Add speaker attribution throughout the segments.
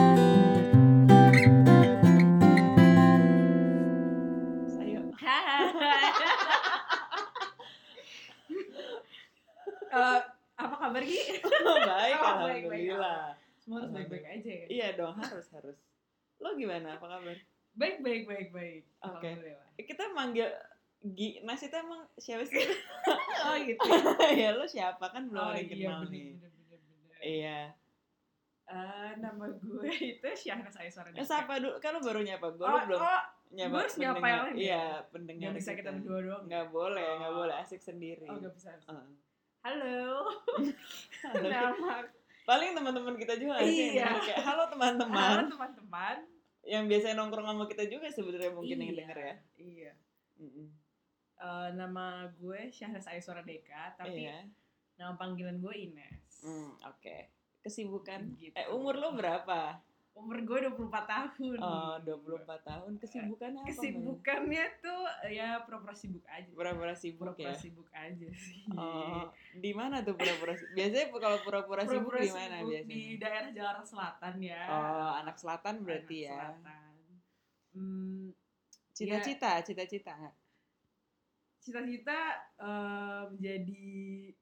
Speaker 1: Oh,
Speaker 2: Eh, Oh, Semua harus
Speaker 1: Alhamdulillah.
Speaker 2: baik-baik aja ya.
Speaker 1: Iya dong, harus harus. Lo gimana? Apa kabar?
Speaker 2: Baik, baik, baik, baik.
Speaker 1: Oke.
Speaker 2: Alhamdulillah.
Speaker 1: Eh, Kita manggil Gi, Mas itu emang siapa sih?
Speaker 2: Oh gitu.
Speaker 1: ya lo siapa kan belum
Speaker 2: Oh
Speaker 1: ada yang
Speaker 2: iya,
Speaker 1: kenal nih.
Speaker 2: bener, bener, bener, bener.
Speaker 1: Iya.
Speaker 2: Eh, nama gue itu Syahnas Aiswara.
Speaker 1: Eh, siapa dulu? Kan lo baru nyapa gue, lo
Speaker 2: Oh,
Speaker 1: belum
Speaker 2: oh,
Speaker 1: nyapa.
Speaker 2: gue harus nyapa yang
Speaker 1: pendengar-
Speaker 2: lain ya?
Speaker 1: Iya, pendengar
Speaker 2: nggak bisa kita berdua doang.
Speaker 1: Nggak boleh, nggak
Speaker 2: Oh.
Speaker 1: boleh. Asik sendiri.
Speaker 2: Oh, nggak bisa.
Speaker 1: Heeh.
Speaker 2: Halo.
Speaker 1: Tapi
Speaker 2: Nama
Speaker 1: Paling teman-teman kita juga nggak sih yang
Speaker 2: Iya.
Speaker 1: denger kayak, halo teman-teman.
Speaker 2: halo teman-teman.
Speaker 1: Yang biasanya nongkrong sama kita juga sebenarnya mungkin yang
Speaker 2: Iya,
Speaker 1: denger ya.
Speaker 2: Iya.
Speaker 1: Mm-mm.
Speaker 2: Eh, nama gue Syahnas Aiswara Deka, tapi
Speaker 1: Iya.
Speaker 2: nama panggilan gue Ines.
Speaker 1: Hmm, Oke. Kesibukan.
Speaker 2: Gitu.
Speaker 1: Eh umur lo berapa?
Speaker 2: Umur gue 24 tahun.
Speaker 1: Oh, 24 tahun kesibukannya apa? Mbak?
Speaker 2: Kesibukannya tuh eh, ya pura-pura sibuk aja.
Speaker 1: Pura-pura sibuk ya.
Speaker 2: Pura-pura sibuk aja sih.
Speaker 1: Oh, di mana tuh pura-pura sibuk? Biasanya kalau pura-pura sibuk
Speaker 2: Pura-pura
Speaker 1: di mana
Speaker 2: sibuk Di
Speaker 1: biasanya?
Speaker 2: daerah Jakarta Selatan ya.
Speaker 1: Oh, anak selatan berarti
Speaker 2: Anak
Speaker 1: ya.
Speaker 2: Selatan. Iya. Hmm,
Speaker 1: Cita-cita, cita-cita nggak?
Speaker 2: cita-cita eh, menjadi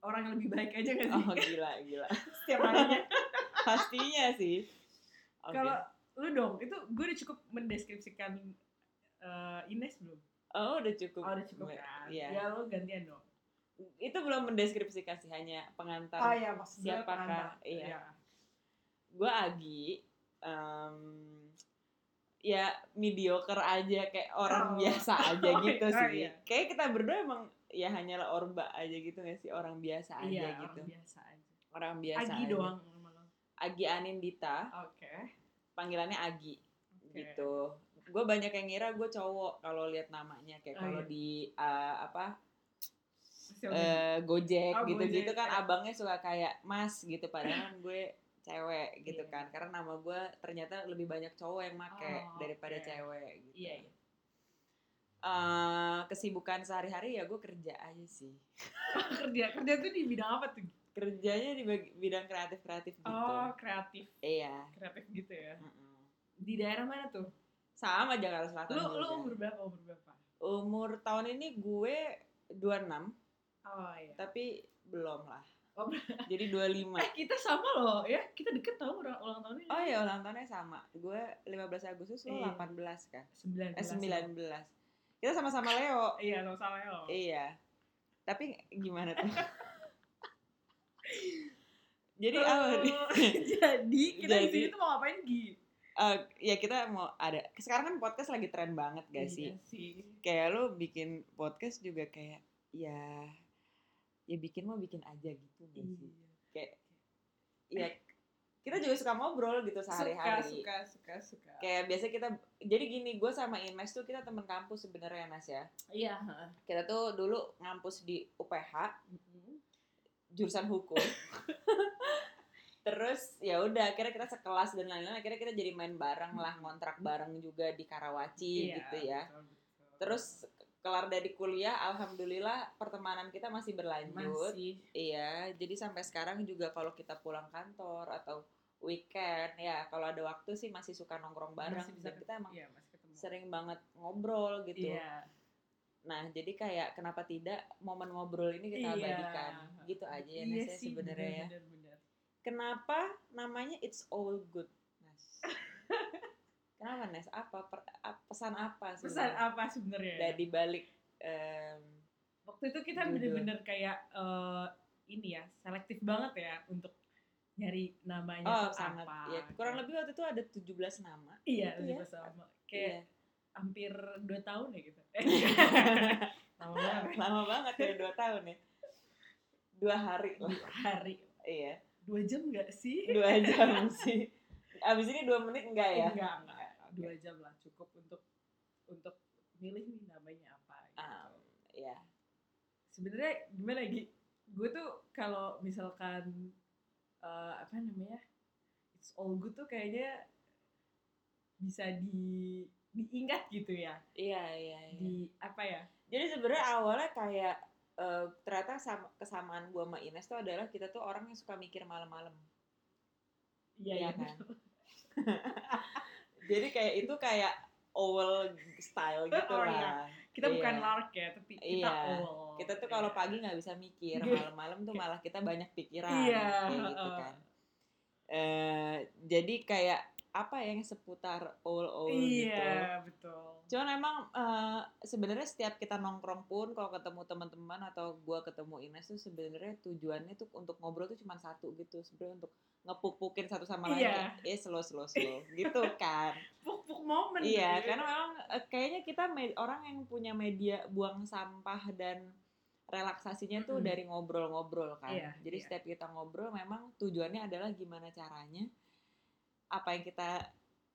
Speaker 2: orang yang lebih baik aja kan sih
Speaker 1: Oh, gila, gila.
Speaker 2: setiap harinya.
Speaker 1: Pastinya sih. Oke.
Speaker 2: Kalau lu dong, itu gue udah cukup mendeskripsikan eh, Ines belum?
Speaker 1: Oh, udah cukup.
Speaker 2: Oh, udah cukup kan?
Speaker 1: Iya.
Speaker 2: Ya lu gantian dong.
Speaker 1: Itu belum mendeskripsikan sih, hanya pengantar.
Speaker 2: Oh ya maksud gue
Speaker 1: Siapakah?
Speaker 2: pengantar.
Speaker 1: Iya. gue Agi em, ya mediocre aja kayak orang
Speaker 2: Oh.
Speaker 1: biasa aja
Speaker 2: Oh,
Speaker 1: gitu
Speaker 2: iya,
Speaker 1: sih
Speaker 2: iya.
Speaker 1: kayak kita berdua emang ya hanyalah orba aja gitu nggak sih orang biasa aja
Speaker 2: Iya,
Speaker 1: gitu
Speaker 2: orang biasa aja.
Speaker 1: orang biasa
Speaker 2: Agi
Speaker 1: aja. Eh,
Speaker 2: doang sama lo.
Speaker 1: Agi Anindita
Speaker 2: Oke.
Speaker 1: panggilannya Agi
Speaker 2: oke.
Speaker 1: gitu gue banyak yang ngira gue cowok kalau lihat namanya kayak
Speaker 2: Oh,
Speaker 1: kalau
Speaker 2: iya.
Speaker 1: di eh, apa
Speaker 2: Masih oke.
Speaker 1: eh, Gojek
Speaker 2: Oh,
Speaker 1: gitu-gitu
Speaker 2: Gojek,
Speaker 1: kan
Speaker 2: ya.
Speaker 1: abangnya suka kayak Mas gitu padahal kan gue cewek gitu
Speaker 2: Iya.
Speaker 1: kan karena nama gue ternyata lebih banyak cowok yang make
Speaker 2: Oh,
Speaker 1: daripada
Speaker 2: oke.
Speaker 1: cewek gitu.
Speaker 2: Iya, iya.
Speaker 1: Eh, kesibukan sehari-hari ya gue kerja aja sih.
Speaker 2: kerja kerja tuh di bidang apa tuh?
Speaker 1: Gitu. Kerjanya di bag- bidang kreatif-kreatif gitu.
Speaker 2: Oh, kreatif.
Speaker 1: Iya.
Speaker 2: Kreatif gitu ya.
Speaker 1: Mm-mm.
Speaker 2: Di daerah mana tuh?
Speaker 1: Sama Jakarta Selatan
Speaker 2: Lu
Speaker 1: juga.
Speaker 2: lu umur berapa? Umur berapa?
Speaker 1: Umur tahun ini gue 26
Speaker 2: Oh iya.
Speaker 1: tapi belum lah.
Speaker 2: Oh,
Speaker 1: Jadi 25.
Speaker 2: Eh, kita sama loh ya. Kita deket tau ulang, ulang tahunnya.
Speaker 1: Oh ya ulang tahunnya sama. Gue 15 Agustus, lo
Speaker 2: Iya.
Speaker 1: 18 kan?
Speaker 2: 19.
Speaker 1: Eh 19. Kita sama-sama Leo.
Speaker 2: Iya, sama-sama ya.
Speaker 1: Iya. Tapi gimana tuh? Jadi
Speaker 2: Oh,
Speaker 1: apa nih?
Speaker 2: jadi kita di
Speaker 1: Jadi-
Speaker 2: sini tuh mau ngapain Gi?
Speaker 1: Eh, ya kita mau ada. Sekarang kan podcast lagi tren banget gak sih?
Speaker 2: Iya sih.
Speaker 1: Kayak lo bikin podcast juga kayak ya ya bikin mau bikin aja gitu gak sih?
Speaker 2: Iya.
Speaker 1: Kayak ya kita juga suka ngobrol gitu sehari-hari.
Speaker 2: Suka, suka, suka, suka.
Speaker 1: Kayak biasa kita jadi gini, gue sama Ines tuh kita temen kampus sebenarnya Nas ya.
Speaker 2: Iya. heeh.
Speaker 1: kita tuh dulu ngampus di UPH jurusan hukum terus ya udah akhirnya kita sekelas dan lain-lain akhirnya kita jadi main bareng lah ngontrak bareng juga di Karawaci
Speaker 2: Iya,
Speaker 1: gitu ya
Speaker 2: betul, betul.
Speaker 1: terus kelar dari kuliah alhamdulillah pertemanan kita masih berlanjut
Speaker 2: masih
Speaker 1: iya jadi sampai sekarang juga kalau kita pulang kantor atau weekend ya kalau ada waktu sih masih suka nongkrong bareng
Speaker 2: Masih bisa
Speaker 1: dan kita emang
Speaker 2: iya, masih ketemu.
Speaker 1: sering banget ngobrol gitu
Speaker 2: Iya.
Speaker 1: Nah, jadi kayak kenapa tidak momen ngobrol ini kita
Speaker 2: Iya.
Speaker 1: abadikan. Gitu aja ya Nas, ya, sebenarnya ya.
Speaker 2: bener, Iya bener, bener.
Speaker 1: Kenapa namanya It's All Good, Nas? kenapa Nas? Apa per- ap- pesan apa sih?
Speaker 2: Pesan apa sebenarnya?
Speaker 1: Dari balik em,
Speaker 2: Waktu itu kita
Speaker 1: Judul.
Speaker 2: bener-bener kayak eh, ini ya, selektif banget ya untuk nyari namanya
Speaker 1: oh
Speaker 2: tuh
Speaker 1: sangat
Speaker 2: apa.
Speaker 1: ya kurang
Speaker 2: kayak-
Speaker 1: lebih waktu itu ada 17 nama.
Speaker 2: Iya,
Speaker 1: gitu ya.
Speaker 2: lebih sama. Kayak
Speaker 1: Iya.
Speaker 2: hampir 2 tahun ya gitu. Lama banget.
Speaker 1: Lama banget ya dua tahun ya. Dua hari lah.
Speaker 2: Dua hari.
Speaker 1: Iya.
Speaker 2: Dua jam gak sih?
Speaker 1: Dua jam sih. Abis ini dua menit enggak ya?
Speaker 2: Enggak, enggak.
Speaker 1: Oke.
Speaker 2: Dua jam lah cukup untuk untuk milih nih namanya apa gitu.
Speaker 1: Ah, Iya.
Speaker 2: Sebenarnya gimana lagi? Gue tuh kalau misalkan eh, apa namanya? It's all good tuh kayaknya bisa di diingat gitu ya.
Speaker 1: Iya, iya, iya.
Speaker 2: Di apa ya?
Speaker 1: Jadi sebenarnya awalnya kayak eh, ternyata sama, kesamaan gua sama Ines tuh adalah kita tuh orang yang suka mikir malam-malam. Iya
Speaker 2: Iya, iya.
Speaker 1: kan? Jadi kayak itu kayak owl style gitu
Speaker 2: Oh,
Speaker 1: lah.
Speaker 2: iya. Kita
Speaker 1: Iya.
Speaker 2: bukan lark ya, tapi kita
Speaker 1: Iya.
Speaker 2: all.
Speaker 1: Kita tuh kalau
Speaker 2: Iya.
Speaker 1: pagi nggak bisa mikir,
Speaker 2: Gitu.
Speaker 1: malam-malam tuh malah kita banyak pikiran
Speaker 2: Iya,
Speaker 1: kayak gitu
Speaker 2: heeh.
Speaker 1: kan. eh jadi kayak apa ya yang seputar all all gitu
Speaker 2: Iya, betul.
Speaker 1: Cuman emang eh, sebenarnya setiap kita nongkrong pun kalau ketemu teman-teman atau gua ketemu Ines tuh sebenarnya tujuannya tuh untuk ngobrol tuh cuma satu gitu sebenarnya untuk ngepuk-pukin satu sama lain
Speaker 2: Iya.
Speaker 1: kayak, eh slow slow slow gitu kan
Speaker 2: Puk-puk momen.
Speaker 1: iya
Speaker 2: gitu.
Speaker 1: karena memang eh, kayaknya kita me- orang yang punya media buang sampah dan relaksasinya tuh
Speaker 2: Mm-mm.
Speaker 1: dari ngobrol-ngobrol kan
Speaker 2: Iya,
Speaker 1: jadi
Speaker 2: iya.
Speaker 1: setiap kita ngobrol memang tujuannya adalah gimana caranya apa yang kita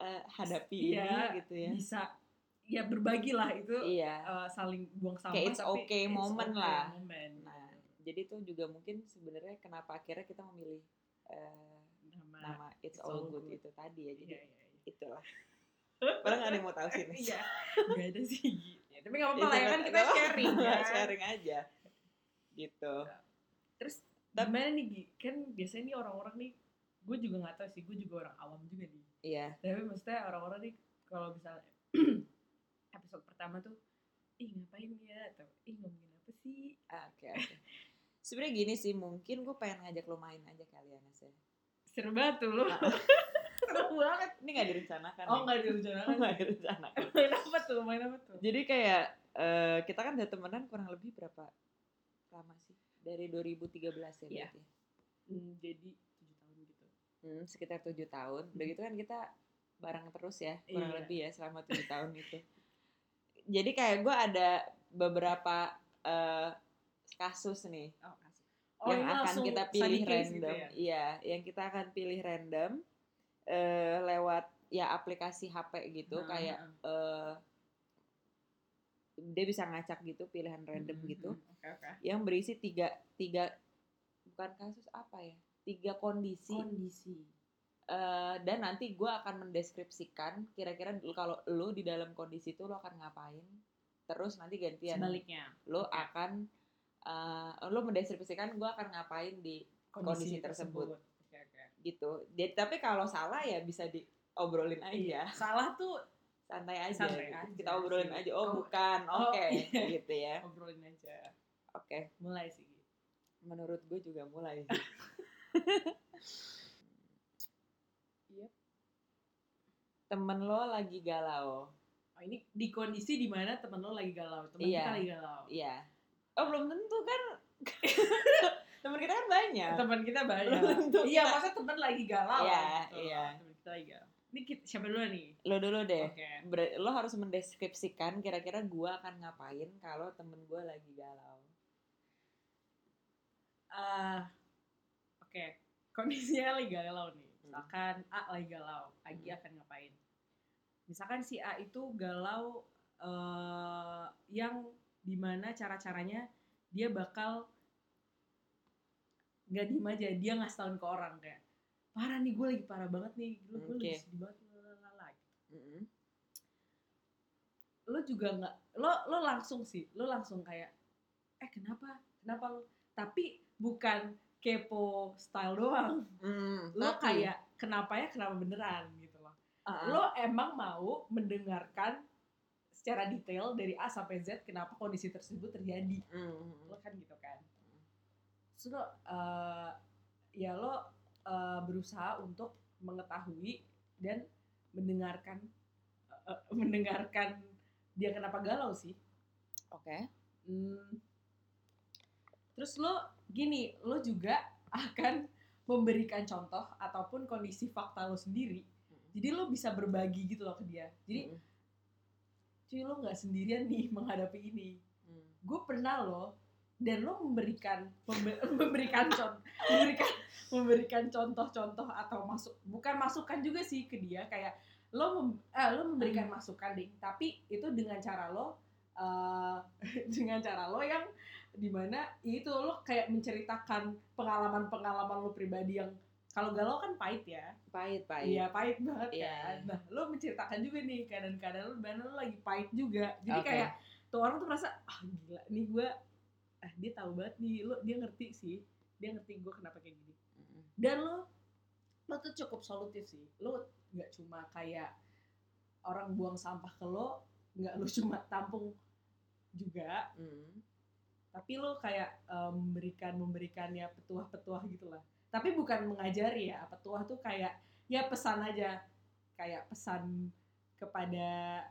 Speaker 1: eh, hadapi ini
Speaker 2: Iya,
Speaker 1: gitu ya
Speaker 2: bisa ya berbagi lah itu
Speaker 1: iya
Speaker 2: eh, saling buang sampah
Speaker 1: Kayak it's
Speaker 2: tapi
Speaker 1: okay
Speaker 2: it's
Speaker 1: moment
Speaker 2: okay
Speaker 1: lah.
Speaker 2: moment.
Speaker 1: Nah, jadi itu juga mungkin sebenarnya kenapa akhirnya kita memilih eh,
Speaker 2: Nama-
Speaker 1: nama It's All Good itu tadi ya. Jadi
Speaker 2: Nah, Iya, iya, iya.
Speaker 1: itulah. Padahal nggak ada yang Iya, mau tahu sih. Nes.
Speaker 2: Iya, nggak ada sih. Ya, tapi nggak apa-apa lah ya kan kita
Speaker 1: Nggak apa-apa,
Speaker 2: sharing kan.
Speaker 1: sharing aja. Gitu.
Speaker 2: Terus
Speaker 1: Tapi-
Speaker 2: gimana nih Gi? Kan biasanya nih orang-orang nih, gue juga nggak tahu sih, gue juga orang awam juga nih.
Speaker 1: Iya.
Speaker 2: Tapi maksudnya orang-orang nih kalau misalnya episode pertama tuh, ih ngapain ya, atau ih ngomongin apa sih?
Speaker 1: Ah, Oke, oke. Sebenarnya gini sih, mungkin gue pengen ngajak lo main aja kali ya, Nes, ya.
Speaker 2: Seru banget tuh lo.
Speaker 1: Ah,
Speaker 2: Seru banget.
Speaker 1: Ini nggak direncanakan.
Speaker 2: Oh
Speaker 1: Nah, nih.
Speaker 2: nggak direncanakan.
Speaker 1: Nggak direncanakan.
Speaker 2: Main apa tuh? Main apa tuh?
Speaker 1: Jadi kayak eh, kita kan udah temenan kurang lebih berapa lama sih? Dari 2013 ya
Speaker 2: Iya.
Speaker 1: berarti.
Speaker 2: Hmm, jadi tujuh tahun gitu.
Speaker 1: Hmm, sekitar tujuh tahun. Udah gitu kan kita bareng terus ya, kurang
Speaker 2: Hmm. Iya.
Speaker 1: lebih ya selama tujuh tahun itu. Jadi kayak gue ada beberapa eh, kasus nih
Speaker 2: Oh, asik. Oh,
Speaker 1: yang
Speaker 2: ini
Speaker 1: akan Ya kan,
Speaker 2: langsung
Speaker 1: kita
Speaker 2: study
Speaker 1: pilih
Speaker 2: case
Speaker 1: random.
Speaker 2: gitu ya?
Speaker 1: Iya, yang kita akan pilih random eh, lewat ya aplikasi HP gitu,
Speaker 2: Nah,
Speaker 1: kayak
Speaker 2: nah.
Speaker 1: eh, dia bisa ngacak gitu pilihan random
Speaker 2: Mm, mm,
Speaker 1: gitu,
Speaker 2: mm. Oke, oke.
Speaker 1: yang berisi tiga tiga bukan kasus apa ya, tiga kondisi
Speaker 2: Kondisi.
Speaker 1: Eh, dan nanti gue akan mendeskripsikan kira-kira lu- kalau lu di dalam kondisi itu lu akan ngapain terus nanti gantian
Speaker 2: Sebaliknya.
Speaker 1: lu akan eh, lu mendeskripsikan gue akan ngapain di Kondisi tersebut.
Speaker 2: Oke, oke.
Speaker 1: gitu jadi tapi kalau salah ya bisa diobrolin aja
Speaker 2: Salah tuh
Speaker 1: santai aja
Speaker 2: Iya. Santai
Speaker 1: gitu.
Speaker 2: aja
Speaker 1: kita obrolin
Speaker 2: sih.
Speaker 1: aja oh,
Speaker 2: Oh,
Speaker 1: bukan
Speaker 2: oh,
Speaker 1: oke
Speaker 2: iya.
Speaker 1: gitu ya
Speaker 2: obrolin aja.
Speaker 1: oke
Speaker 2: Mulai sih. Gi.
Speaker 1: menurut gue juga mulai sih.
Speaker 2: Yep.
Speaker 1: temen lo lagi galau
Speaker 2: Oh, ini di kondisi di mana temen lo lagi galau, temen
Speaker 1: Iya.
Speaker 2: kita lagi galau.
Speaker 1: Iya. Oh belum tentu kan. Teman kita kan banyak.
Speaker 2: Teman kita banyak.
Speaker 1: Belum tentu
Speaker 2: iya,
Speaker 1: kita-
Speaker 2: masa temen lagi galau.
Speaker 1: Iya,
Speaker 2: gitu.
Speaker 1: iya.
Speaker 2: Temen kita lagi galau. Ini kita- siapa dulu nih?
Speaker 1: Lo dulu deh.
Speaker 2: Oke.
Speaker 1: Ber- lo harus mendeskripsikan kira-kira gua akan ngapain kalau temen gua lagi galau.
Speaker 2: Ah, Oke. Kondisinya lagi galau nih. Misalkan A lagi galau, Agi
Speaker 1: Hmm.
Speaker 2: akan ngapain? Misalkan si A itu galau eh yang dimana cara-caranya dia bakal nggak diem aja, dia ngasih tahuin ke orang kayak parah nih gue lagi parah banget nih, gue lagi
Speaker 1: Oke.
Speaker 2: sedih banget, lalala. lo juga nggak lo lo langsung sih lo langsung kayak eh kenapa kenapa lo tapi bukan kepo style doang lo kayak kenapa ya kenapa beneran gitu loh
Speaker 1: uh-uh. Ah.
Speaker 2: lo emang mau mendengarkan secara detail dari A sampai Z kenapa kondisi tersebut
Speaker 1: Hmm.
Speaker 2: terjadi lo kan gitu kan Terus lo eh, ya lo eh, berusaha untuk mengetahui dan mendengarkan eh, eh, mendengarkan dia kenapa galau sih
Speaker 1: Oke.
Speaker 2: Hmm. Terus lo gini, lo juga akan memberikan contoh ataupun kondisi fakta lo sendiri. Jadi lo bisa berbagi gitu loh ke dia. Jadi cuy lo nggak sendirian nih menghadapi ini.
Speaker 1: Mm-hmm.
Speaker 2: Gue pernah lo dan lo memberikan membe- memberikan contoh memberikan memberikan contoh-contoh atau masuk bukan masukan juga sih ke dia kayak lo mem- eh, lo memberikan masukan ding tapi itu dengan cara lo eh, dengan cara lo yang dimana itu lo kayak menceritakan pengalaman-pengalaman lo pribadi yang kalau galau kan pahit ya
Speaker 1: Pahit pahit.
Speaker 2: iya pahit banget
Speaker 1: Iya,
Speaker 2: kan
Speaker 1: iya.
Speaker 2: nah lo menceritakan juga nih keadaan-keadaan lo dimana lo lagi pahit juga jadi
Speaker 1: Oke.
Speaker 2: kayak tuh orang tuh merasa ah gila nih gue ah dia tahu banget nih lo dia ngerti sih dia ngerti gue kenapa kayak gini
Speaker 1: Mm-mm.
Speaker 2: dan lo lo tuh cukup solutif sih lo nggak cuma kayak orang buang sampah ke lo nggak lo cuma tampung juga
Speaker 1: Mm.
Speaker 2: tapi lo kayak eh, memberikan memberikannya petuah-petuah gitulah tapi bukan mengajari ya petuah tuh kayak ya pesan aja kayak pesan kepada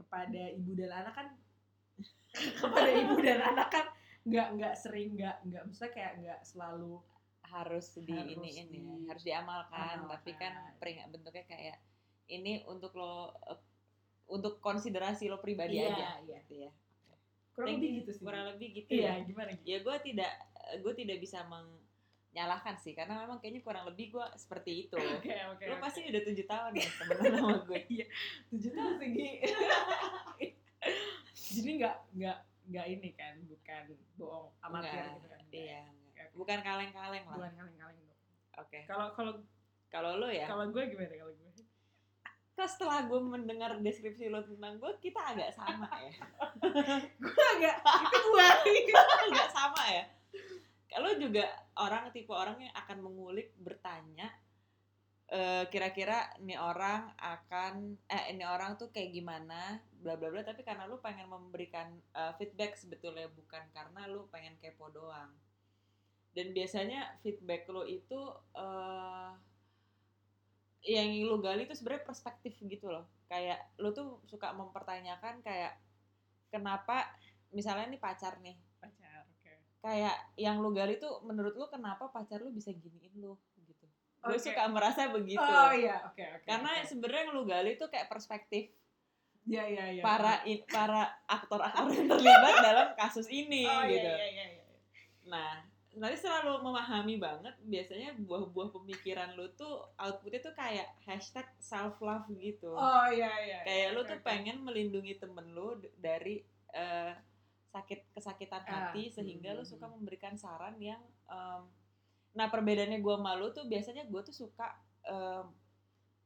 Speaker 2: kepada ibu dan anak kan kepada ibu dan anak kan nggak nggak sering nggak nggak maksudnya kayak nggak selalu
Speaker 1: harus di
Speaker 2: Harus
Speaker 1: ini ini
Speaker 2: di-
Speaker 1: harus diamalkan tapi kan
Speaker 2: amalkan.
Speaker 1: peringat bentuknya kayak ini untuk lo eh, untuk konsiderasi lo pribadi
Speaker 2: Iya,
Speaker 1: aja
Speaker 2: iya.
Speaker 1: gitu ya
Speaker 2: kurang
Speaker 1: Thank
Speaker 2: lebih
Speaker 1: you.
Speaker 2: gitu sih
Speaker 1: kurang lebih gitu
Speaker 2: iya
Speaker 1: ya
Speaker 2: gimana gitu
Speaker 1: ya gue tidak gue tidak bisa menyalahkan sih karena memang kayaknya kurang lebih gue seperti itu
Speaker 2: oke oke
Speaker 1: lo
Speaker 2: oke.
Speaker 1: pasti udah tujuh tahun ya temenan sama gue
Speaker 2: iya tujuh tahun segi jadi nggak nggak nggak ini kan bukan bohong amatir
Speaker 1: Enggak,
Speaker 2: gitu kan
Speaker 1: iya
Speaker 2: Enggak.
Speaker 1: bukan kaleng-kaleng lah
Speaker 2: bukan kaleng-kaleng dong
Speaker 1: oke
Speaker 2: kalau kalau
Speaker 1: kalau lo ya
Speaker 2: kalau gue gimana kalau gue
Speaker 1: kan setelah gue mendengar deskripsi lo tentang gue kita agak sama ya
Speaker 2: gue agak itu gue
Speaker 1: nggak sama ya kalau juga orang tipe orang yang akan mengulik bertanya eh, kira-kira ini orang akan eh ini orang tuh kayak gimana bla bla bla tapi karena lu pengen memberikan eh, feedback sebetulnya bukan karena lu pengen kepo doang dan biasanya feedback lu itu eh, yang lu gali itu sebenarnya perspektif gitu loh kayak lu tuh suka mempertanyakan kayak kenapa misalnya ini pacar nih
Speaker 2: pacar oke
Speaker 1: kayak yang lu gali tuh menurut lu kenapa pacar lu bisa giniin lu gitu. Gue
Speaker 2: Oke.
Speaker 1: suka merasa begitu.
Speaker 2: oh iya oke oke
Speaker 1: Karena
Speaker 2: oke.
Speaker 1: sebenarnya yang lu gali tuh kayak perspektif
Speaker 2: iya iya iya
Speaker 1: para in- para aktor-aktor yang terlibat dalam kasus ini
Speaker 2: oh
Speaker 1: gitu.
Speaker 2: iya iya iya, iya.
Speaker 1: Nah, nanti selalu memahami banget biasanya buah-buah pemikiran lu tuh outputnya tuh kayak hashtag self love gitu.
Speaker 2: oh iya iya
Speaker 1: kayak lu
Speaker 2: oke,
Speaker 1: tuh
Speaker 2: oke.
Speaker 1: pengen melindungi temen lu d- dari eh, sakit kesakitan
Speaker 2: Ah,
Speaker 1: hati sehingga lu
Speaker 2: hmm.
Speaker 1: suka memberikan saran yang em, nah perbedaannya gua sama lu tuh biasanya gue tuh suka em,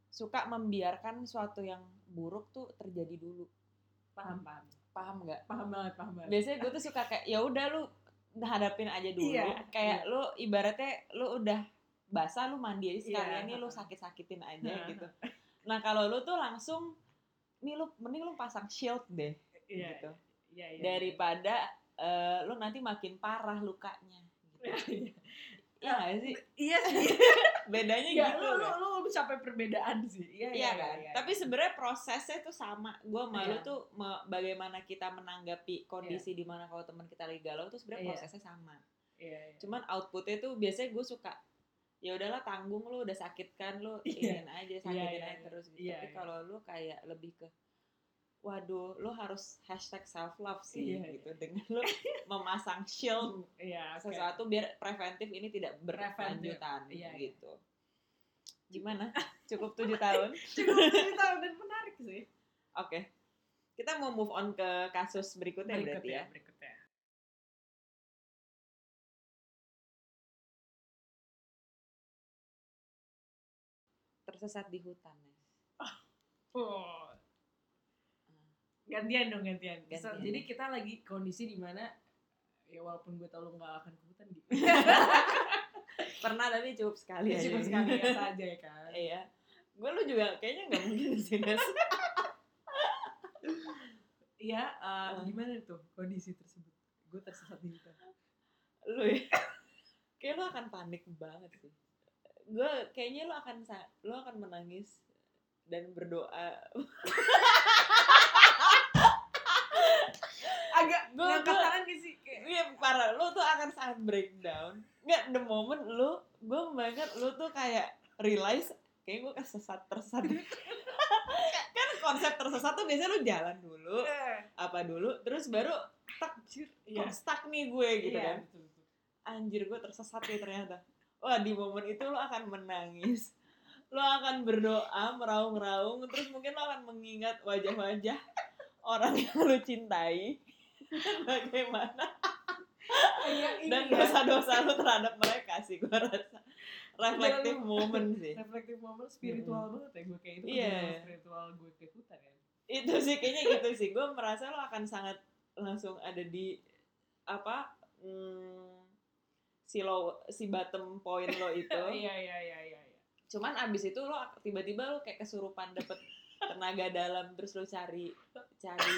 Speaker 1: suka membiarkan suatu yang buruk tuh terjadi dulu
Speaker 2: paham paham
Speaker 1: paham nggak
Speaker 2: paham banget paham banget
Speaker 1: biasanya gue tuh suka kayak ya udah lu hadapin aja dulu
Speaker 2: Iya,
Speaker 1: kayak lu ibaratnya lu udah basah lu mandi aja sekalian
Speaker 2: Iya,
Speaker 1: nih lu
Speaker 2: heeh.
Speaker 1: sakit-sakitin aja gitu nah kalau lu tuh langsung nih lu mending lu pasang shield deh
Speaker 2: iya
Speaker 1: gitu
Speaker 2: iya iya
Speaker 1: daripada eh, lu nanti makin parah lukanya gitu.
Speaker 2: Iya.
Speaker 1: Iya nggak sih?
Speaker 2: iya sih
Speaker 1: Bedanya
Speaker 2: ya
Speaker 1: gitu.
Speaker 2: lu lu
Speaker 1: loh.
Speaker 2: lu mencapai perbedaan sih iya
Speaker 1: Iya kan? Tapi sebenarnya prosesnya tuh sama. Gua malu
Speaker 2: Iya.
Speaker 1: tuh me- bagaimana kita menanggapi kondisi di mana kalau teman kita lagi galau tuh sebenarnya
Speaker 2: Iya.
Speaker 1: prosesnya sama.
Speaker 2: iya iya
Speaker 1: Cuman outputnya tuh biasanya gue suka ya udahlah tanggung lu udah sakit kan lu
Speaker 2: Iya.
Speaker 1: ingin aja sakitin
Speaker 2: iya,
Speaker 1: aja
Speaker 2: iya.
Speaker 1: terus gitu.
Speaker 2: Iya,
Speaker 1: Tapi
Speaker 2: iya.
Speaker 1: kalau lu kayak lebih ke waduh lu harus hashtag self love sih
Speaker 2: Iya,
Speaker 1: gitu dengan lu memasang shield
Speaker 2: iya oke.
Speaker 1: sesuatu biar preventif ini tidak berkelanjutan
Speaker 2: Iya, iya.
Speaker 1: gitu. Gimana? Cukup tujuh tahun.
Speaker 2: cukup cerita dan menarik sih
Speaker 1: Oke. Kita mau move on ke kasus berikutnya berarti ya.
Speaker 2: berikutnya
Speaker 1: Tersesat di hutan. ya. Nes.
Speaker 2: Oh. Gantian dong gantian.
Speaker 1: Gantian.
Speaker 2: So, jadi kita lagi kondisi di mana ya walaupun gue tau lo nggak akan ke hutan gitu.
Speaker 1: Pernah tapi cukup sekali
Speaker 2: Ya,
Speaker 1: aja.
Speaker 2: cuma sekali ya saja ya kan.
Speaker 1: Iya. Gue lu juga kayaknya nggak mungkin sih Nes.
Speaker 2: Iya, eh,
Speaker 1: Ah.
Speaker 2: gimana tuh kondisi tersebut? Gue tersesat di hutan.
Speaker 1: Lu ya. Kayak lu akan panik banget sih. Gue kayaknya lu akan sa- lu akan menangis dan berdoa.
Speaker 2: Agak
Speaker 1: Gua-
Speaker 2: ngangkat
Speaker 1: gua-
Speaker 2: tangan gak sih? Kayak,
Speaker 1: Iya parah, lu tuh akan sangat breakdown. Nggak, the moment lu, gue banget lu tuh kayak realize, kayak gue kesesat tersesat. kan konsep tersesat tuh biasanya lu jalan dulu,
Speaker 2: eh,
Speaker 1: apa dulu, terus baru tak
Speaker 2: Anjir. Iya.
Speaker 1: yeah. stuck nih gue gitu
Speaker 2: Iya,
Speaker 1: kan.
Speaker 2: betul, betul.
Speaker 1: Anjir gue tersesat nih ternyata. Wah di momen itu lu akan menangis. Lu akan berdoa, meraung-raung, terus mungkin lu akan mengingat wajah-wajah orang yang lu cintai. Bagaimana
Speaker 2: Iya, ini
Speaker 1: dan
Speaker 2: ya,
Speaker 1: dosa-dosa lu terhadap mereka sih gue rasa reflective
Speaker 2: Dalam-
Speaker 1: moment sih
Speaker 2: reflective moment spiritual banget ya gue kayak itu
Speaker 1: Iya.
Speaker 2: perjalanan spiritual gue ke hutan ya.
Speaker 1: itu sih kayaknya gitu sih gue merasa lo akan sangat langsung ada di apa hmm, si low si bottom point lo itu
Speaker 2: Iya, iya, iya, iya. iya.
Speaker 1: cuman abis itu lo ak- tiba-tiba lo kayak kesurupan dapet tenaga dalam terus lo cari
Speaker 2: Oh, iya.
Speaker 1: cari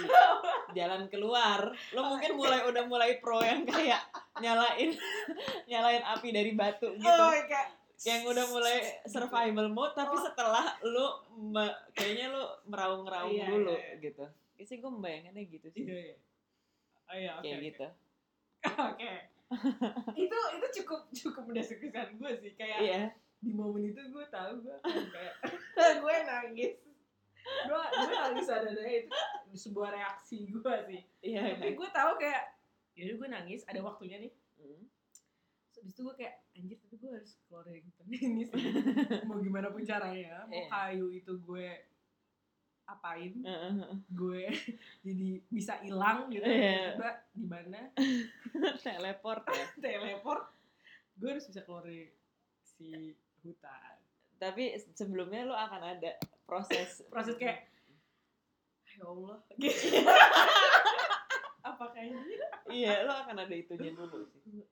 Speaker 1: jalan keluar lo mungkin mulai udah mulai pro yang kayak nyalain nyalain api dari batu gitu
Speaker 3: Oh my god.
Speaker 1: yang udah mulai
Speaker 2: iya.
Speaker 1: survival mode tapi
Speaker 2: Oh.
Speaker 1: setelah lu me- kayaknya lu meraung-raung
Speaker 3: Iya,
Speaker 1: dulu
Speaker 3: iya, iya.
Speaker 1: gitu. Ya sih gue membayangannya gitu sih.
Speaker 2: Iya, iya. Oh iya, oke.
Speaker 1: kayak
Speaker 2: oke.
Speaker 1: gitu.
Speaker 2: Oke. itu itu cukup cukup mendeskripsikan gue sih kayak
Speaker 1: Iya.
Speaker 2: di momen itu gue tahu gue akan kayak
Speaker 3: gue nangis.
Speaker 2: gue gue nangis ada itu sebuah reaksi gue sih.
Speaker 1: Iya.
Speaker 2: Tapi gue tahu kayak yaudah gue nangis ada waktunya nih.
Speaker 1: Hmm.
Speaker 2: Terus abis itu gue kayak anjir tapi gue harus keluar dari hutan ini sih. mau gimana pun caranya, mau
Speaker 1: Iya.
Speaker 2: kayu itu gue apain,
Speaker 1: Heeh.
Speaker 2: gue jadi bisa hilang gitu.
Speaker 1: Iya.
Speaker 2: Tiba di mana
Speaker 1: Teleport ya.
Speaker 2: teleport, gue harus bisa keluar dari si hutan.
Speaker 1: Tapi sebelumnya lu akan ada proses
Speaker 2: proses kayak ya Allah gitu. apakah ini
Speaker 1: iya, lu akan ada itunya dulu sih.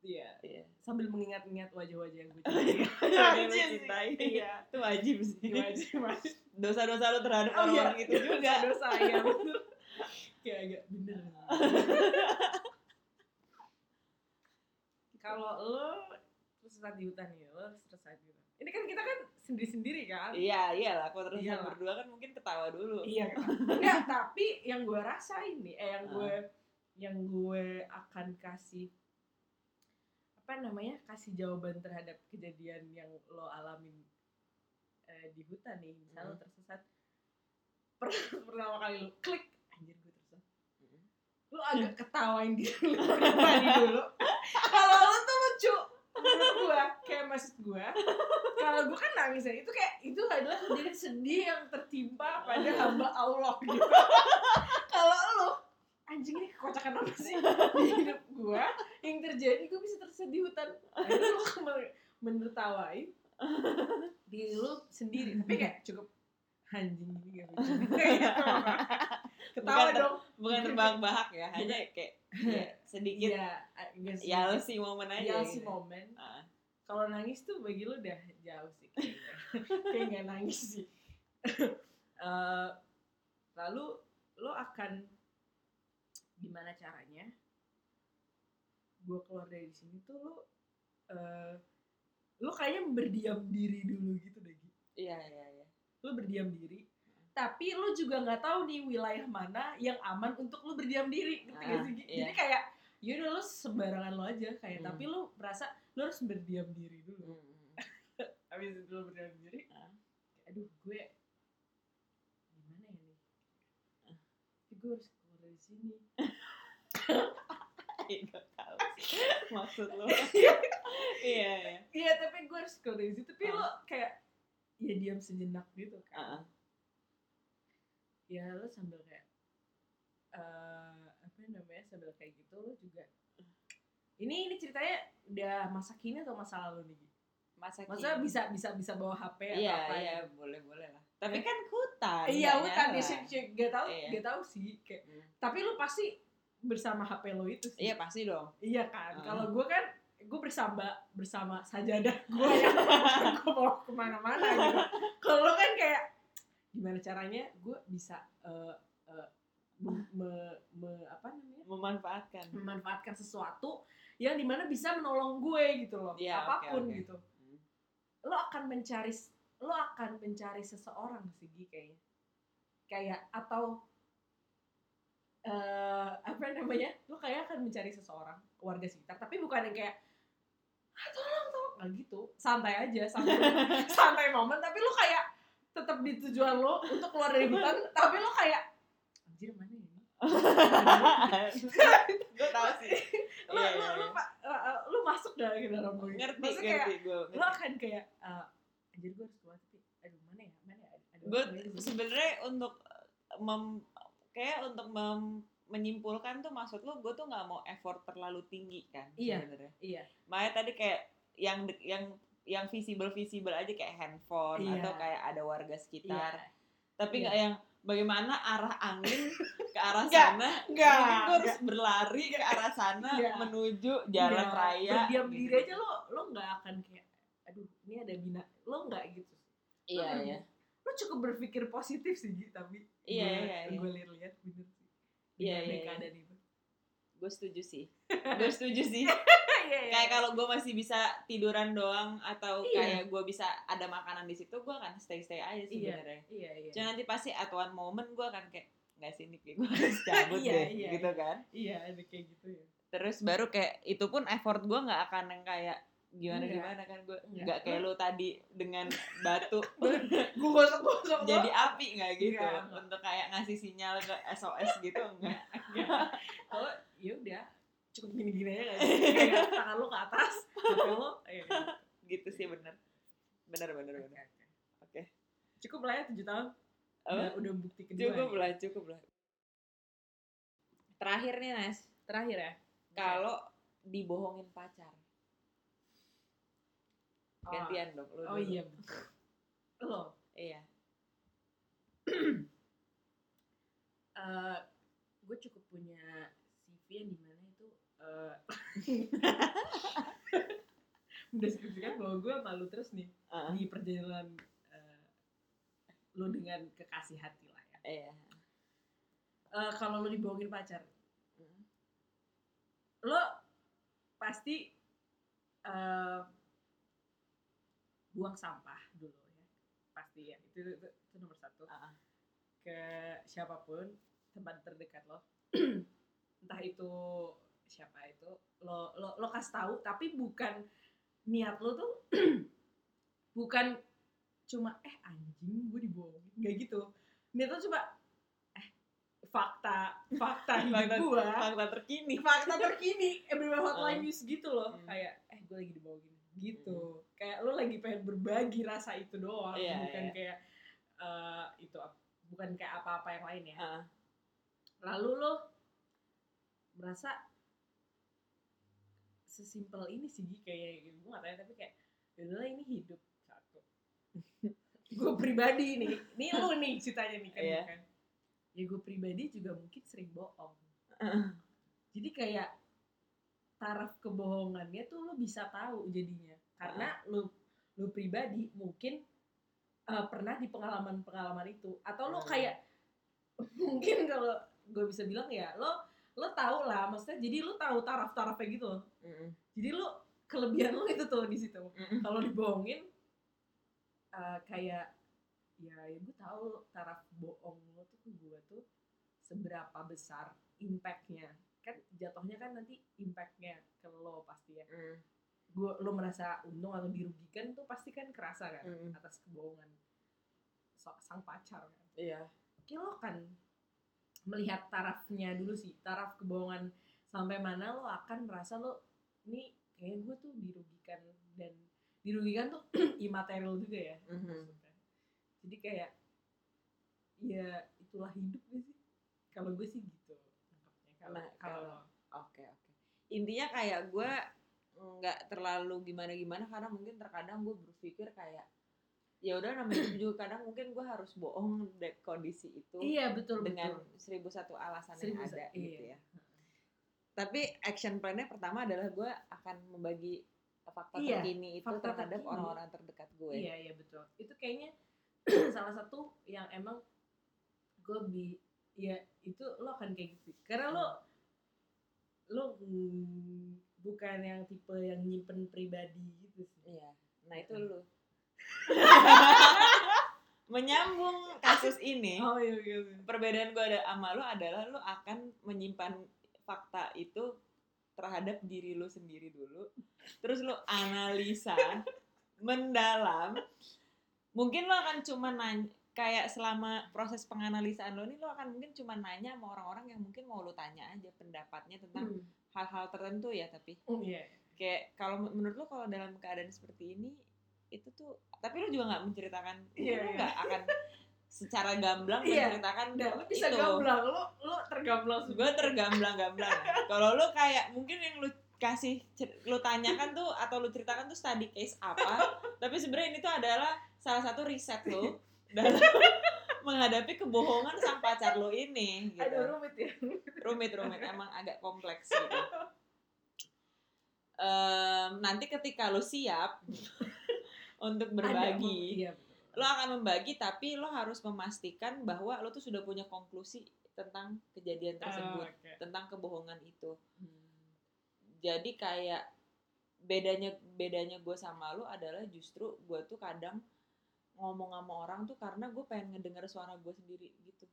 Speaker 2: iya
Speaker 1: Iya.
Speaker 2: sambil mengingat-ingat wajah-wajah yang gue
Speaker 3: Wajib sih.
Speaker 1: Yang lu
Speaker 2: cintai
Speaker 1: cintai.
Speaker 2: iya
Speaker 1: Itu wajib sih.
Speaker 2: wajah wajah
Speaker 1: Dosa-dosa lu terhadap
Speaker 2: Oh, iya.
Speaker 1: orang-orang itu juga.
Speaker 2: dosa ya betul kayak agak bener kalau lo terus saat di hutan ya lo terus saat di hutan ini kan kita kan sendiri-sendiri kan
Speaker 1: Iya, iyalah. Kalau terus
Speaker 2: Iyalah.
Speaker 1: berdua kan mungkin ketawa dulu.
Speaker 2: Iya kan? Enggak, tapi yang gue rasain nih, eh yang
Speaker 1: Ah.
Speaker 2: gue yang gue akan kasih apa namanya? kasih jawaban terhadap kejadian yang lo alamin eh, di hutan nih, misalnya lo tersesat. Per- pertama kali lo klik, anjir gue tersesat.
Speaker 1: Mm.
Speaker 2: Lo agak ketawain diri lo pribadi dulu. Kalau lo tuh lucu menurut gue, kayak maksud gue kalau gue kan nangis ya itu kayak itu adalah kejadian sedih yang tertimpa pada hamba Allah gitu kalau lu anjing ini kekocakan apa sih di hidup gue yang terjadi gue bisa tersedih hutan akhirnya lu me- menertawai diri lu sendiri tapi kayak cukup anjing ini gak lucu Gitu.
Speaker 1: Bukan
Speaker 2: ketawa
Speaker 1: ter-
Speaker 2: dong
Speaker 1: Iya. Bukan terbahak-bahak ya, hanya kayak ya, sedikit
Speaker 2: iya agak sedikit.
Speaker 1: ya sih momen aja.
Speaker 2: Yel Iya sih
Speaker 1: gitu.
Speaker 2: momen
Speaker 1: Ah.
Speaker 2: kalau nangis tuh bagi lu udah jauh sih kayaknya. kayak nggak nangis sih Eh, lalu lo akan gimana caranya gue keluar dari sini tuh lo eh, lo kayaknya berdiam diri dulu gitu deh Gi.
Speaker 1: Iya, iya, iya.
Speaker 2: lo berdiam diri tapi lo juga nggak tahu nih wilayah mana yang aman untuk lo berdiam diri ngerti nggak
Speaker 1: Ah,
Speaker 2: sih, Gi?
Speaker 1: iya.
Speaker 2: jadi kayak yaudah lo sembarangan lo aja kayak
Speaker 1: Hmm.
Speaker 2: tapi lo merasa lo harus berdiam diri dulu
Speaker 1: Mm.
Speaker 2: habis itu lo berdiam diri
Speaker 1: Ah.
Speaker 2: kayak, aduh gue gimana ya nih Tapi gue harus keluar dari sini
Speaker 1: Ih, Iya, gak tahu sih. maksud lo iya iya
Speaker 2: iya tapi gue harus keluar dari sini tapi
Speaker 1: Ah.
Speaker 2: lo kayak ya diam sejenak gitu
Speaker 1: Ah.
Speaker 2: kan ya lo sambil kayak eh apa namanya sambil kayak gitu lo juga ini ini ceritanya udah masa kini atau masa lalu nih Gi?
Speaker 1: masa
Speaker 2: masa
Speaker 1: kini.
Speaker 2: bisa bisa bisa bawa hp atau
Speaker 1: iya
Speaker 2: apa
Speaker 1: iya
Speaker 2: gitu?
Speaker 1: boleh boleh lah tapi kan hutan
Speaker 2: iya
Speaker 1: nggak
Speaker 2: hutan ya
Speaker 1: nyala.
Speaker 2: sih gak tau
Speaker 1: Iya.
Speaker 2: gak tau sih kayak
Speaker 1: Mm.
Speaker 2: tapi lu pasti bersama HP lo itu sih
Speaker 1: iya pasti dong
Speaker 2: Iya kan.
Speaker 1: Ah.
Speaker 2: Kalau gue kan gue bersama bersama sajadah gue yang gue mau kemana-mana gitu. Kalau lo kan kayak gimana caranya gue bisa eh, eh, me- me- me- apa namanya
Speaker 1: memanfaatkan
Speaker 2: Hmm. memanfaatkan sesuatu yang dimana bisa menolong gue gitu loh
Speaker 1: Iya, oke,
Speaker 2: apapun
Speaker 1: oke.
Speaker 2: gitu lo akan mencari lo akan mencari seseorang sih Gi, kayaknya kayak atau eh apa namanya lo kayak akan mencari seseorang warga sekitar tapi bukan yang kayak ah tolong tolong nggak gitu santai aja santai santai momen tapi lo kayak tetap di tujuan lo untuk keluar dari hutan tapi lo kayak anjir mana ya ini
Speaker 1: gue tahu sih
Speaker 2: lo
Speaker 1: Iya,
Speaker 2: lo
Speaker 1: iya,
Speaker 2: lo,
Speaker 1: iya.
Speaker 2: Pak, eh, eh, lo masuk gak ke dalam gue
Speaker 1: ngerti
Speaker 2: Maksudnya kayak,
Speaker 1: ngerti gue
Speaker 2: lo akan kayak eh, anjir gue harus keluar tapi aduh mana ya mana ya aduh
Speaker 1: gue
Speaker 2: mana ya?"
Speaker 1: sebenarnya untuk eh, mem kayak untuk mem- menyimpulkan tuh maksud lo gue tuh nggak mau effort terlalu tinggi kan
Speaker 2: Iya,
Speaker 1: sebenarnya
Speaker 2: iya.
Speaker 1: makanya tadi kayak yang de- yang yang visible visible aja kayak handphone
Speaker 2: Iya.
Speaker 1: atau kayak ada warga sekitar
Speaker 2: Iya.
Speaker 1: tapi nggak yang bagaimana arah angin ke arah
Speaker 3: Nggak,
Speaker 1: sana
Speaker 3: nggak,
Speaker 1: mungkin gue harus berlari ke arah sana
Speaker 2: Iya.
Speaker 1: menuju jalan
Speaker 2: Iya,
Speaker 1: raya
Speaker 2: berdiam
Speaker 1: gitu.
Speaker 2: diri aja lo lo nggak akan kayak aduh ini ada bina lo nggak gitu
Speaker 1: iya
Speaker 2: Lo-
Speaker 1: iya
Speaker 2: lo cukup berpikir positif sih Gi, tapi
Speaker 1: Iya,
Speaker 2: gue-
Speaker 1: iya, iya.
Speaker 2: gue lihat-lihat bener sih
Speaker 1: Iya, iya,
Speaker 2: Bener deh
Speaker 1: iya.
Speaker 2: keadaan itu
Speaker 1: gue setuju sih gue setuju sih
Speaker 2: Iya, iya.
Speaker 1: kayak kalau gue masih bisa tiduran doang atau
Speaker 2: Iya.
Speaker 1: kayak gue bisa ada makanan di situ gue akan stay stay aja sih
Speaker 2: Iya.
Speaker 1: sebenarnya
Speaker 2: Iya, iya.
Speaker 1: cuma nanti pasti at one moment gue akan kayak nggak sini kayak gue harus cabut
Speaker 2: Iya,
Speaker 1: deh
Speaker 2: iya,
Speaker 1: gitu kan
Speaker 2: Iya, ada kayak gitu ya.
Speaker 1: terus baru kayak itu pun effort gue nggak akan yang kayak gimana
Speaker 2: Enggak.
Speaker 1: gimana kan gue
Speaker 2: Enggak.
Speaker 1: nggak kayak lu tadi dengan batu
Speaker 2: Gue gosok-gosok
Speaker 1: jadi api
Speaker 2: Iya.
Speaker 1: nggak gitu
Speaker 2: Enggak, enggak.
Speaker 1: untuk kayak ngasih sinyal ke SOS gitu enggak
Speaker 2: Iya. kalau ya udah cukup gini-gini aja kan. Kayak tangan lo ke atas, HP lo. Iya.
Speaker 1: gitu sih bener bener bener bener
Speaker 2: Oke, oke.
Speaker 1: Oke.
Speaker 2: Cukup lah ya 7 tahun.
Speaker 1: Apa?
Speaker 2: Udah, udah bukti kedua.
Speaker 1: cukup
Speaker 2: ya.
Speaker 1: lah cukup lah terakhir nih Nes
Speaker 2: Terakhir ya. Oh.
Speaker 1: kalau dibohongin pacar gantian dong lu
Speaker 2: Oh, oh
Speaker 1: dulu.
Speaker 2: iya betul. Lo
Speaker 1: iya
Speaker 2: gue Eh, cukup punya CV yang dimana itu eh mendeskripsikan bahwa gue malu terus nih
Speaker 1: Heeh.
Speaker 2: di perjalanan eh, lo dengan kekasih hati lah ya.
Speaker 1: iya
Speaker 2: Eh, kalau lo dibohongin pacar, Iya. lo pasti eh, buang sampah dulu ya, pasti ya itu, itu, itu nomor satu.
Speaker 1: Ah.
Speaker 2: Ke siapapun tempat terdekat lo, entah itu siapa itu lo lo lo kasih tahu tapi bukan niat lo tuh bukan cuma eh anjing gue dibohongin nggak gitu niat lo cuma eh fakta fakta hidup
Speaker 1: Iya, Fakta-
Speaker 2: gue
Speaker 1: fakta terkini
Speaker 2: fakta terkini everywhere hotline
Speaker 1: Hmm.
Speaker 2: news gitu loh
Speaker 1: Hmm.
Speaker 2: kayak eh gue lagi dibohongin gitu kayak lo lagi pengen berbagi rasa itu doang
Speaker 1: Iya,
Speaker 2: bukan
Speaker 1: iya.
Speaker 2: kayak eh, itu ap- bukan kayak apa-apa yang lain ya
Speaker 1: Heeh.
Speaker 2: lalu lo merasa sesimpel ini sih Gi, kayak gue gak tanya tapi kayak yaudahlah ini hidup satu gue pribadi nih ini lo nih ceritanya nih kan
Speaker 1: Iya.
Speaker 2: bukan ya gue pribadi juga mungkin sering bohong
Speaker 1: Heeh.
Speaker 2: jadi kayak taraf kebohongannya tuh lo bisa tahu jadinya karena lo lo pribadi mungkin eh, pernah di pengalaman-pengalaman itu atau lo
Speaker 1: Hmm.
Speaker 2: kayak mungkin kalau gue bisa bilang ya lo lo tahu lah maksudnya jadi lo tahu taraf-tarafnya gitu loh
Speaker 1: Mm-mm.
Speaker 2: jadi lo kelebihan lo itu tuh di situ
Speaker 1: Mm-mm.
Speaker 2: kalau dibohongin eh, kayak ya, ya gue tahu taraf bohong lo tuh ke gue tuh seberapa besar impactnya kan jatuhnya kan nanti impactnya ke lo pasti ya
Speaker 1: Mm.
Speaker 2: gue lo merasa untung atau dirugikan tuh pasti kan kerasa kan
Speaker 1: Mm-mm.
Speaker 2: atas kebohongan so- sang pacar kan
Speaker 1: iya
Speaker 2: kayak lo kan melihat tarafnya dulu sih taraf kebohongan sampai mana lo akan merasa lo ini kayak gue tuh dirugikan dan dirugikan tuh imaterial juga ya
Speaker 1: Mhm.
Speaker 2: maksudnya. jadi kayak ya itulah hidup gak sih kalau gue sih gitu nangkapnya. kalau
Speaker 1: Nah,
Speaker 2: kalau
Speaker 1: kalau- Oke oke. Intinya kayak gue nggak terlalu gimana gimana karena mungkin terkadang gue berpikir kayak ya udah namanya hidup juga kadang mungkin gue harus bohong dari kondisi itu
Speaker 2: iya betul
Speaker 1: dengan
Speaker 2: betul
Speaker 1: seribu satu alasan
Speaker 2: Seribu
Speaker 1: yang
Speaker 2: sa-
Speaker 1: ada
Speaker 2: iya.
Speaker 1: gitu ya. Tapi action plan-nya pertama adalah gue akan membagi fakta
Speaker 2: Iya,
Speaker 1: terkini itu
Speaker 2: fakta
Speaker 1: terhadap
Speaker 2: terkini.
Speaker 1: orang-orang terdekat gue.
Speaker 2: iya iya betul itu kayaknya salah satu yang emang gue bi ya itu lo akan kayak gitu karena lo lo mm, bukan yang tipe yang nyimpen pribadi gitu sih
Speaker 1: Iya. Nah itu
Speaker 2: Mm.
Speaker 1: lu. Menyambung kasus ini.
Speaker 2: oh iya iya iya.
Speaker 1: perbedaan gue ada sama lu adalah lu akan menyimpan fakta itu terhadap diri lu sendiri dulu terus lu analisa mendalam mungkin lu akan cuma nanya kayak selama proses penganalisaan lo nih lu akan mungkin cuma nanya sama orang-orang yang mungkin mau lu tanya aja pendapatnya tentang
Speaker 2: Hmm.
Speaker 1: hal-hal tertentu ya tapi
Speaker 2: Oh, iya
Speaker 1: kayak kalau men- menurut lu kalau dalam keadaan seperti ini itu tuh tapi lu juga nggak menceritakan
Speaker 2: Iya,
Speaker 1: lu
Speaker 2: iya.
Speaker 1: nggak akan secara gamblang
Speaker 2: Iya.
Speaker 1: menceritakan
Speaker 2: Nggak, lo bisa
Speaker 1: itu.
Speaker 2: gamblang lo lo tergamblang
Speaker 1: gue tergamblang-gamblang kalau lu kayak mungkin yang lu kasih cer- lu tanyakan tuh atau lu ceritakan tuh study case apa tapi sebenarnya ini tuh adalah salah satu riset lu dalam menghadapi kebohongan sang pacar lu ini gitu
Speaker 2: ada rumit ya
Speaker 1: rumit rumit emang agak kompleks gitu Em, nanti ketika lu siap untuk
Speaker 2: Ada,
Speaker 1: berbagi
Speaker 2: iya betul.
Speaker 1: lo akan membagi tapi lo harus memastikan bahwa lo tuh sudah punya konklusi tentang kejadian tersebut
Speaker 2: Oh, oke. Hmm.
Speaker 1: tentang kebohongan itu jadi kayak bedanya bedanya gue sama lu adalah justru gue tuh kadang ngomong sama orang tuh karena gue pengen ngedengar suara gue sendiri gitu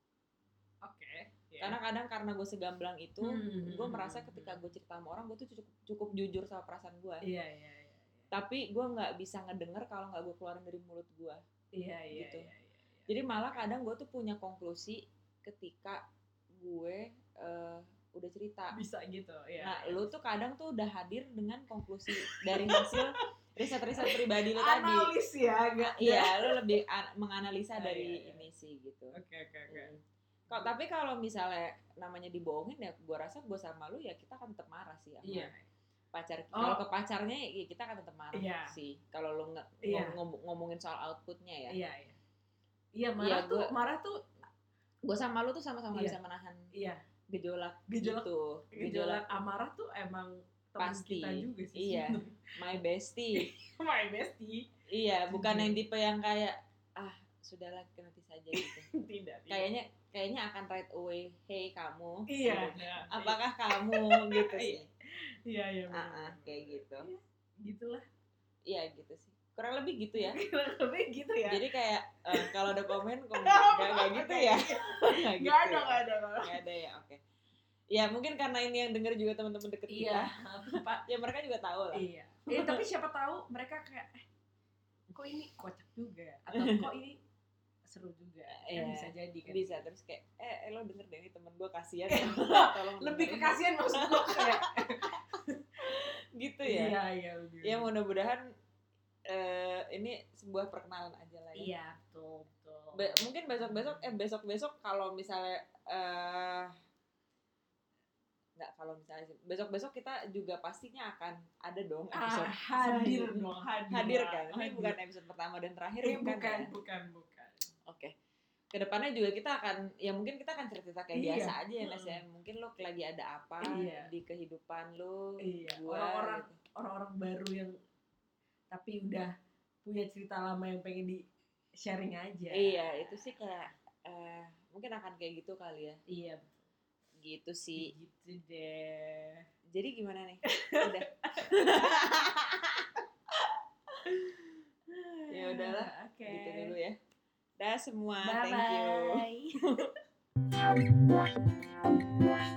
Speaker 2: Oke. ya.
Speaker 1: karena kadang karena gue segamblang itu
Speaker 2: Hmm.
Speaker 1: gue merasa ketika gue cerita sama orang gue tuh cukup cukup jujur sama perasaan gue
Speaker 2: Iya iya iya.
Speaker 1: tapi gue nggak bisa ngedenger kalau nggak gue keluarin dari mulut gue
Speaker 2: Iya iya
Speaker 1: Gitu.
Speaker 2: iya. iya.
Speaker 1: jadi malah kadang gue tuh punya konklusi ketika gue eh, udah cerita
Speaker 2: bisa gitu ya.
Speaker 1: Nah, lu tuh kadang tuh udah hadir dengan konklusi dari hasil riset-riset pribadi lu tadi.
Speaker 2: analis ya agak.
Speaker 1: Iya, lu lebih an- menganalisa
Speaker 2: Iya, iya,
Speaker 1: dari
Speaker 2: iya.
Speaker 1: ini sih gitu.
Speaker 2: Oke oke oke.
Speaker 1: Mm. Kalau tapi kalau misalnya namanya dibohongin ya gua rasa gua sama lu ya kita akan tetap marah sih sama
Speaker 2: Iya.
Speaker 1: pacar.
Speaker 2: Oh.
Speaker 1: Kalau ke pacarnya ya kita akan tetap marah
Speaker 2: Iya.
Speaker 1: sih. Kalau lu nge-
Speaker 2: Iya.
Speaker 1: ngom- ngomongin soal outputnya ya.
Speaker 2: Iya iya. Iya marah
Speaker 1: Iya,
Speaker 2: tuh
Speaker 1: gua-
Speaker 2: marah tuh
Speaker 1: Gua sama lu tuh sama-sama nggak
Speaker 2: Iya.
Speaker 1: bisa menahan
Speaker 2: iya
Speaker 1: gejolak,
Speaker 2: Gejolak-
Speaker 1: gitu.
Speaker 2: gejolak amarah tuh emang teman
Speaker 1: Pasti.
Speaker 2: kita juga sih.
Speaker 1: Iya.
Speaker 2: sebenarnya.
Speaker 1: my bestie.
Speaker 2: My bestie.
Speaker 1: Iya, bukan
Speaker 2: Jujur.
Speaker 1: yang tipe yang kayak ah sudahlah nanti saja gitu.
Speaker 2: Tidak. tidak.
Speaker 1: kayaknya kayaknya akan right away, hey kamu.
Speaker 2: Iya.
Speaker 1: Gitu.
Speaker 2: iya.
Speaker 1: Apakah kamu gitu sih?
Speaker 2: Iya iya.
Speaker 1: Ah,
Speaker 2: benar,
Speaker 1: ah,
Speaker 2: benar,
Speaker 1: kayak
Speaker 2: benar.
Speaker 1: gitu.
Speaker 2: Iya, Gitulah.
Speaker 1: Iya gitu sih. Kurang lebih gitu ya.
Speaker 2: Tapi gitu ya.
Speaker 1: Jadi kayak eh, kalau ada komen komen nggak nggak gitu ya. Nggak gitu
Speaker 2: Gak ada
Speaker 1: ya?
Speaker 2: gak ada nggak ada.
Speaker 1: Nggak ada ya, oke. Ya mungkin karena ini yang denger juga teman-teman deket
Speaker 2: Iya. Pak
Speaker 1: kita. Ya mereka juga tahu lah.
Speaker 2: Iya. Eh, tapi siapa tahu mereka kayak eh, kok ini kocak juga atau kok ini seru juga.
Speaker 1: Iya.
Speaker 2: Kan bisa jadi kan.
Speaker 1: Bisa terus kayak eh, eh, lo denger deh ini temen gue kasihan. Tolong
Speaker 2: Iya. Lebih
Speaker 1: dengerin.
Speaker 2: kekasihan maksud gue kayak.
Speaker 1: gitu ya.
Speaker 2: Iya, iya, lebih.
Speaker 1: ya mudah-mudahan eh, ini sebuah perkenalan aja lah ya.
Speaker 2: Iya, betul, betul.
Speaker 1: Be- mungkin besok-besok eh besok-besok kalau misalnya eh nggak kalau misalnya sih, besok-besok kita juga pastinya akan ada dong
Speaker 2: Ah, iya.
Speaker 1: episode
Speaker 2: hadir dong, hadir.
Speaker 1: hadir kan. Ini
Speaker 2: Hadir.
Speaker 1: bukan episode pertama dan terakhir
Speaker 2: Eh,
Speaker 1: bukan.
Speaker 2: bukan,
Speaker 1: ya?
Speaker 2: bukan, bukan.
Speaker 1: Oke. Kedepannya juga kita akan ya mungkin kita akan cerita kayak
Speaker 2: Iya.
Speaker 1: biasa aja ya Nas
Speaker 2: Mm.
Speaker 1: ya. Mungkin lo lagi ada apa
Speaker 2: Iya.
Speaker 1: di kehidupan lo,
Speaker 2: Iya,
Speaker 1: gua,
Speaker 2: orang-orang-
Speaker 1: gitu.
Speaker 2: Orang-orang baru yang tapi udah punya cerita lama yang pengen di sharing aja.
Speaker 1: Iya, itu sih kayak eh, mungkin akan kayak gitu kali ya.
Speaker 2: Iya,
Speaker 1: Gitu sih.
Speaker 2: gitu deh.
Speaker 1: Jadi gimana nih? Udah. Ya udahlah,
Speaker 2: Oke.
Speaker 1: gitu dulu ya. Dah semua.
Speaker 2: Bye
Speaker 1: Thank you.
Speaker 2: bye.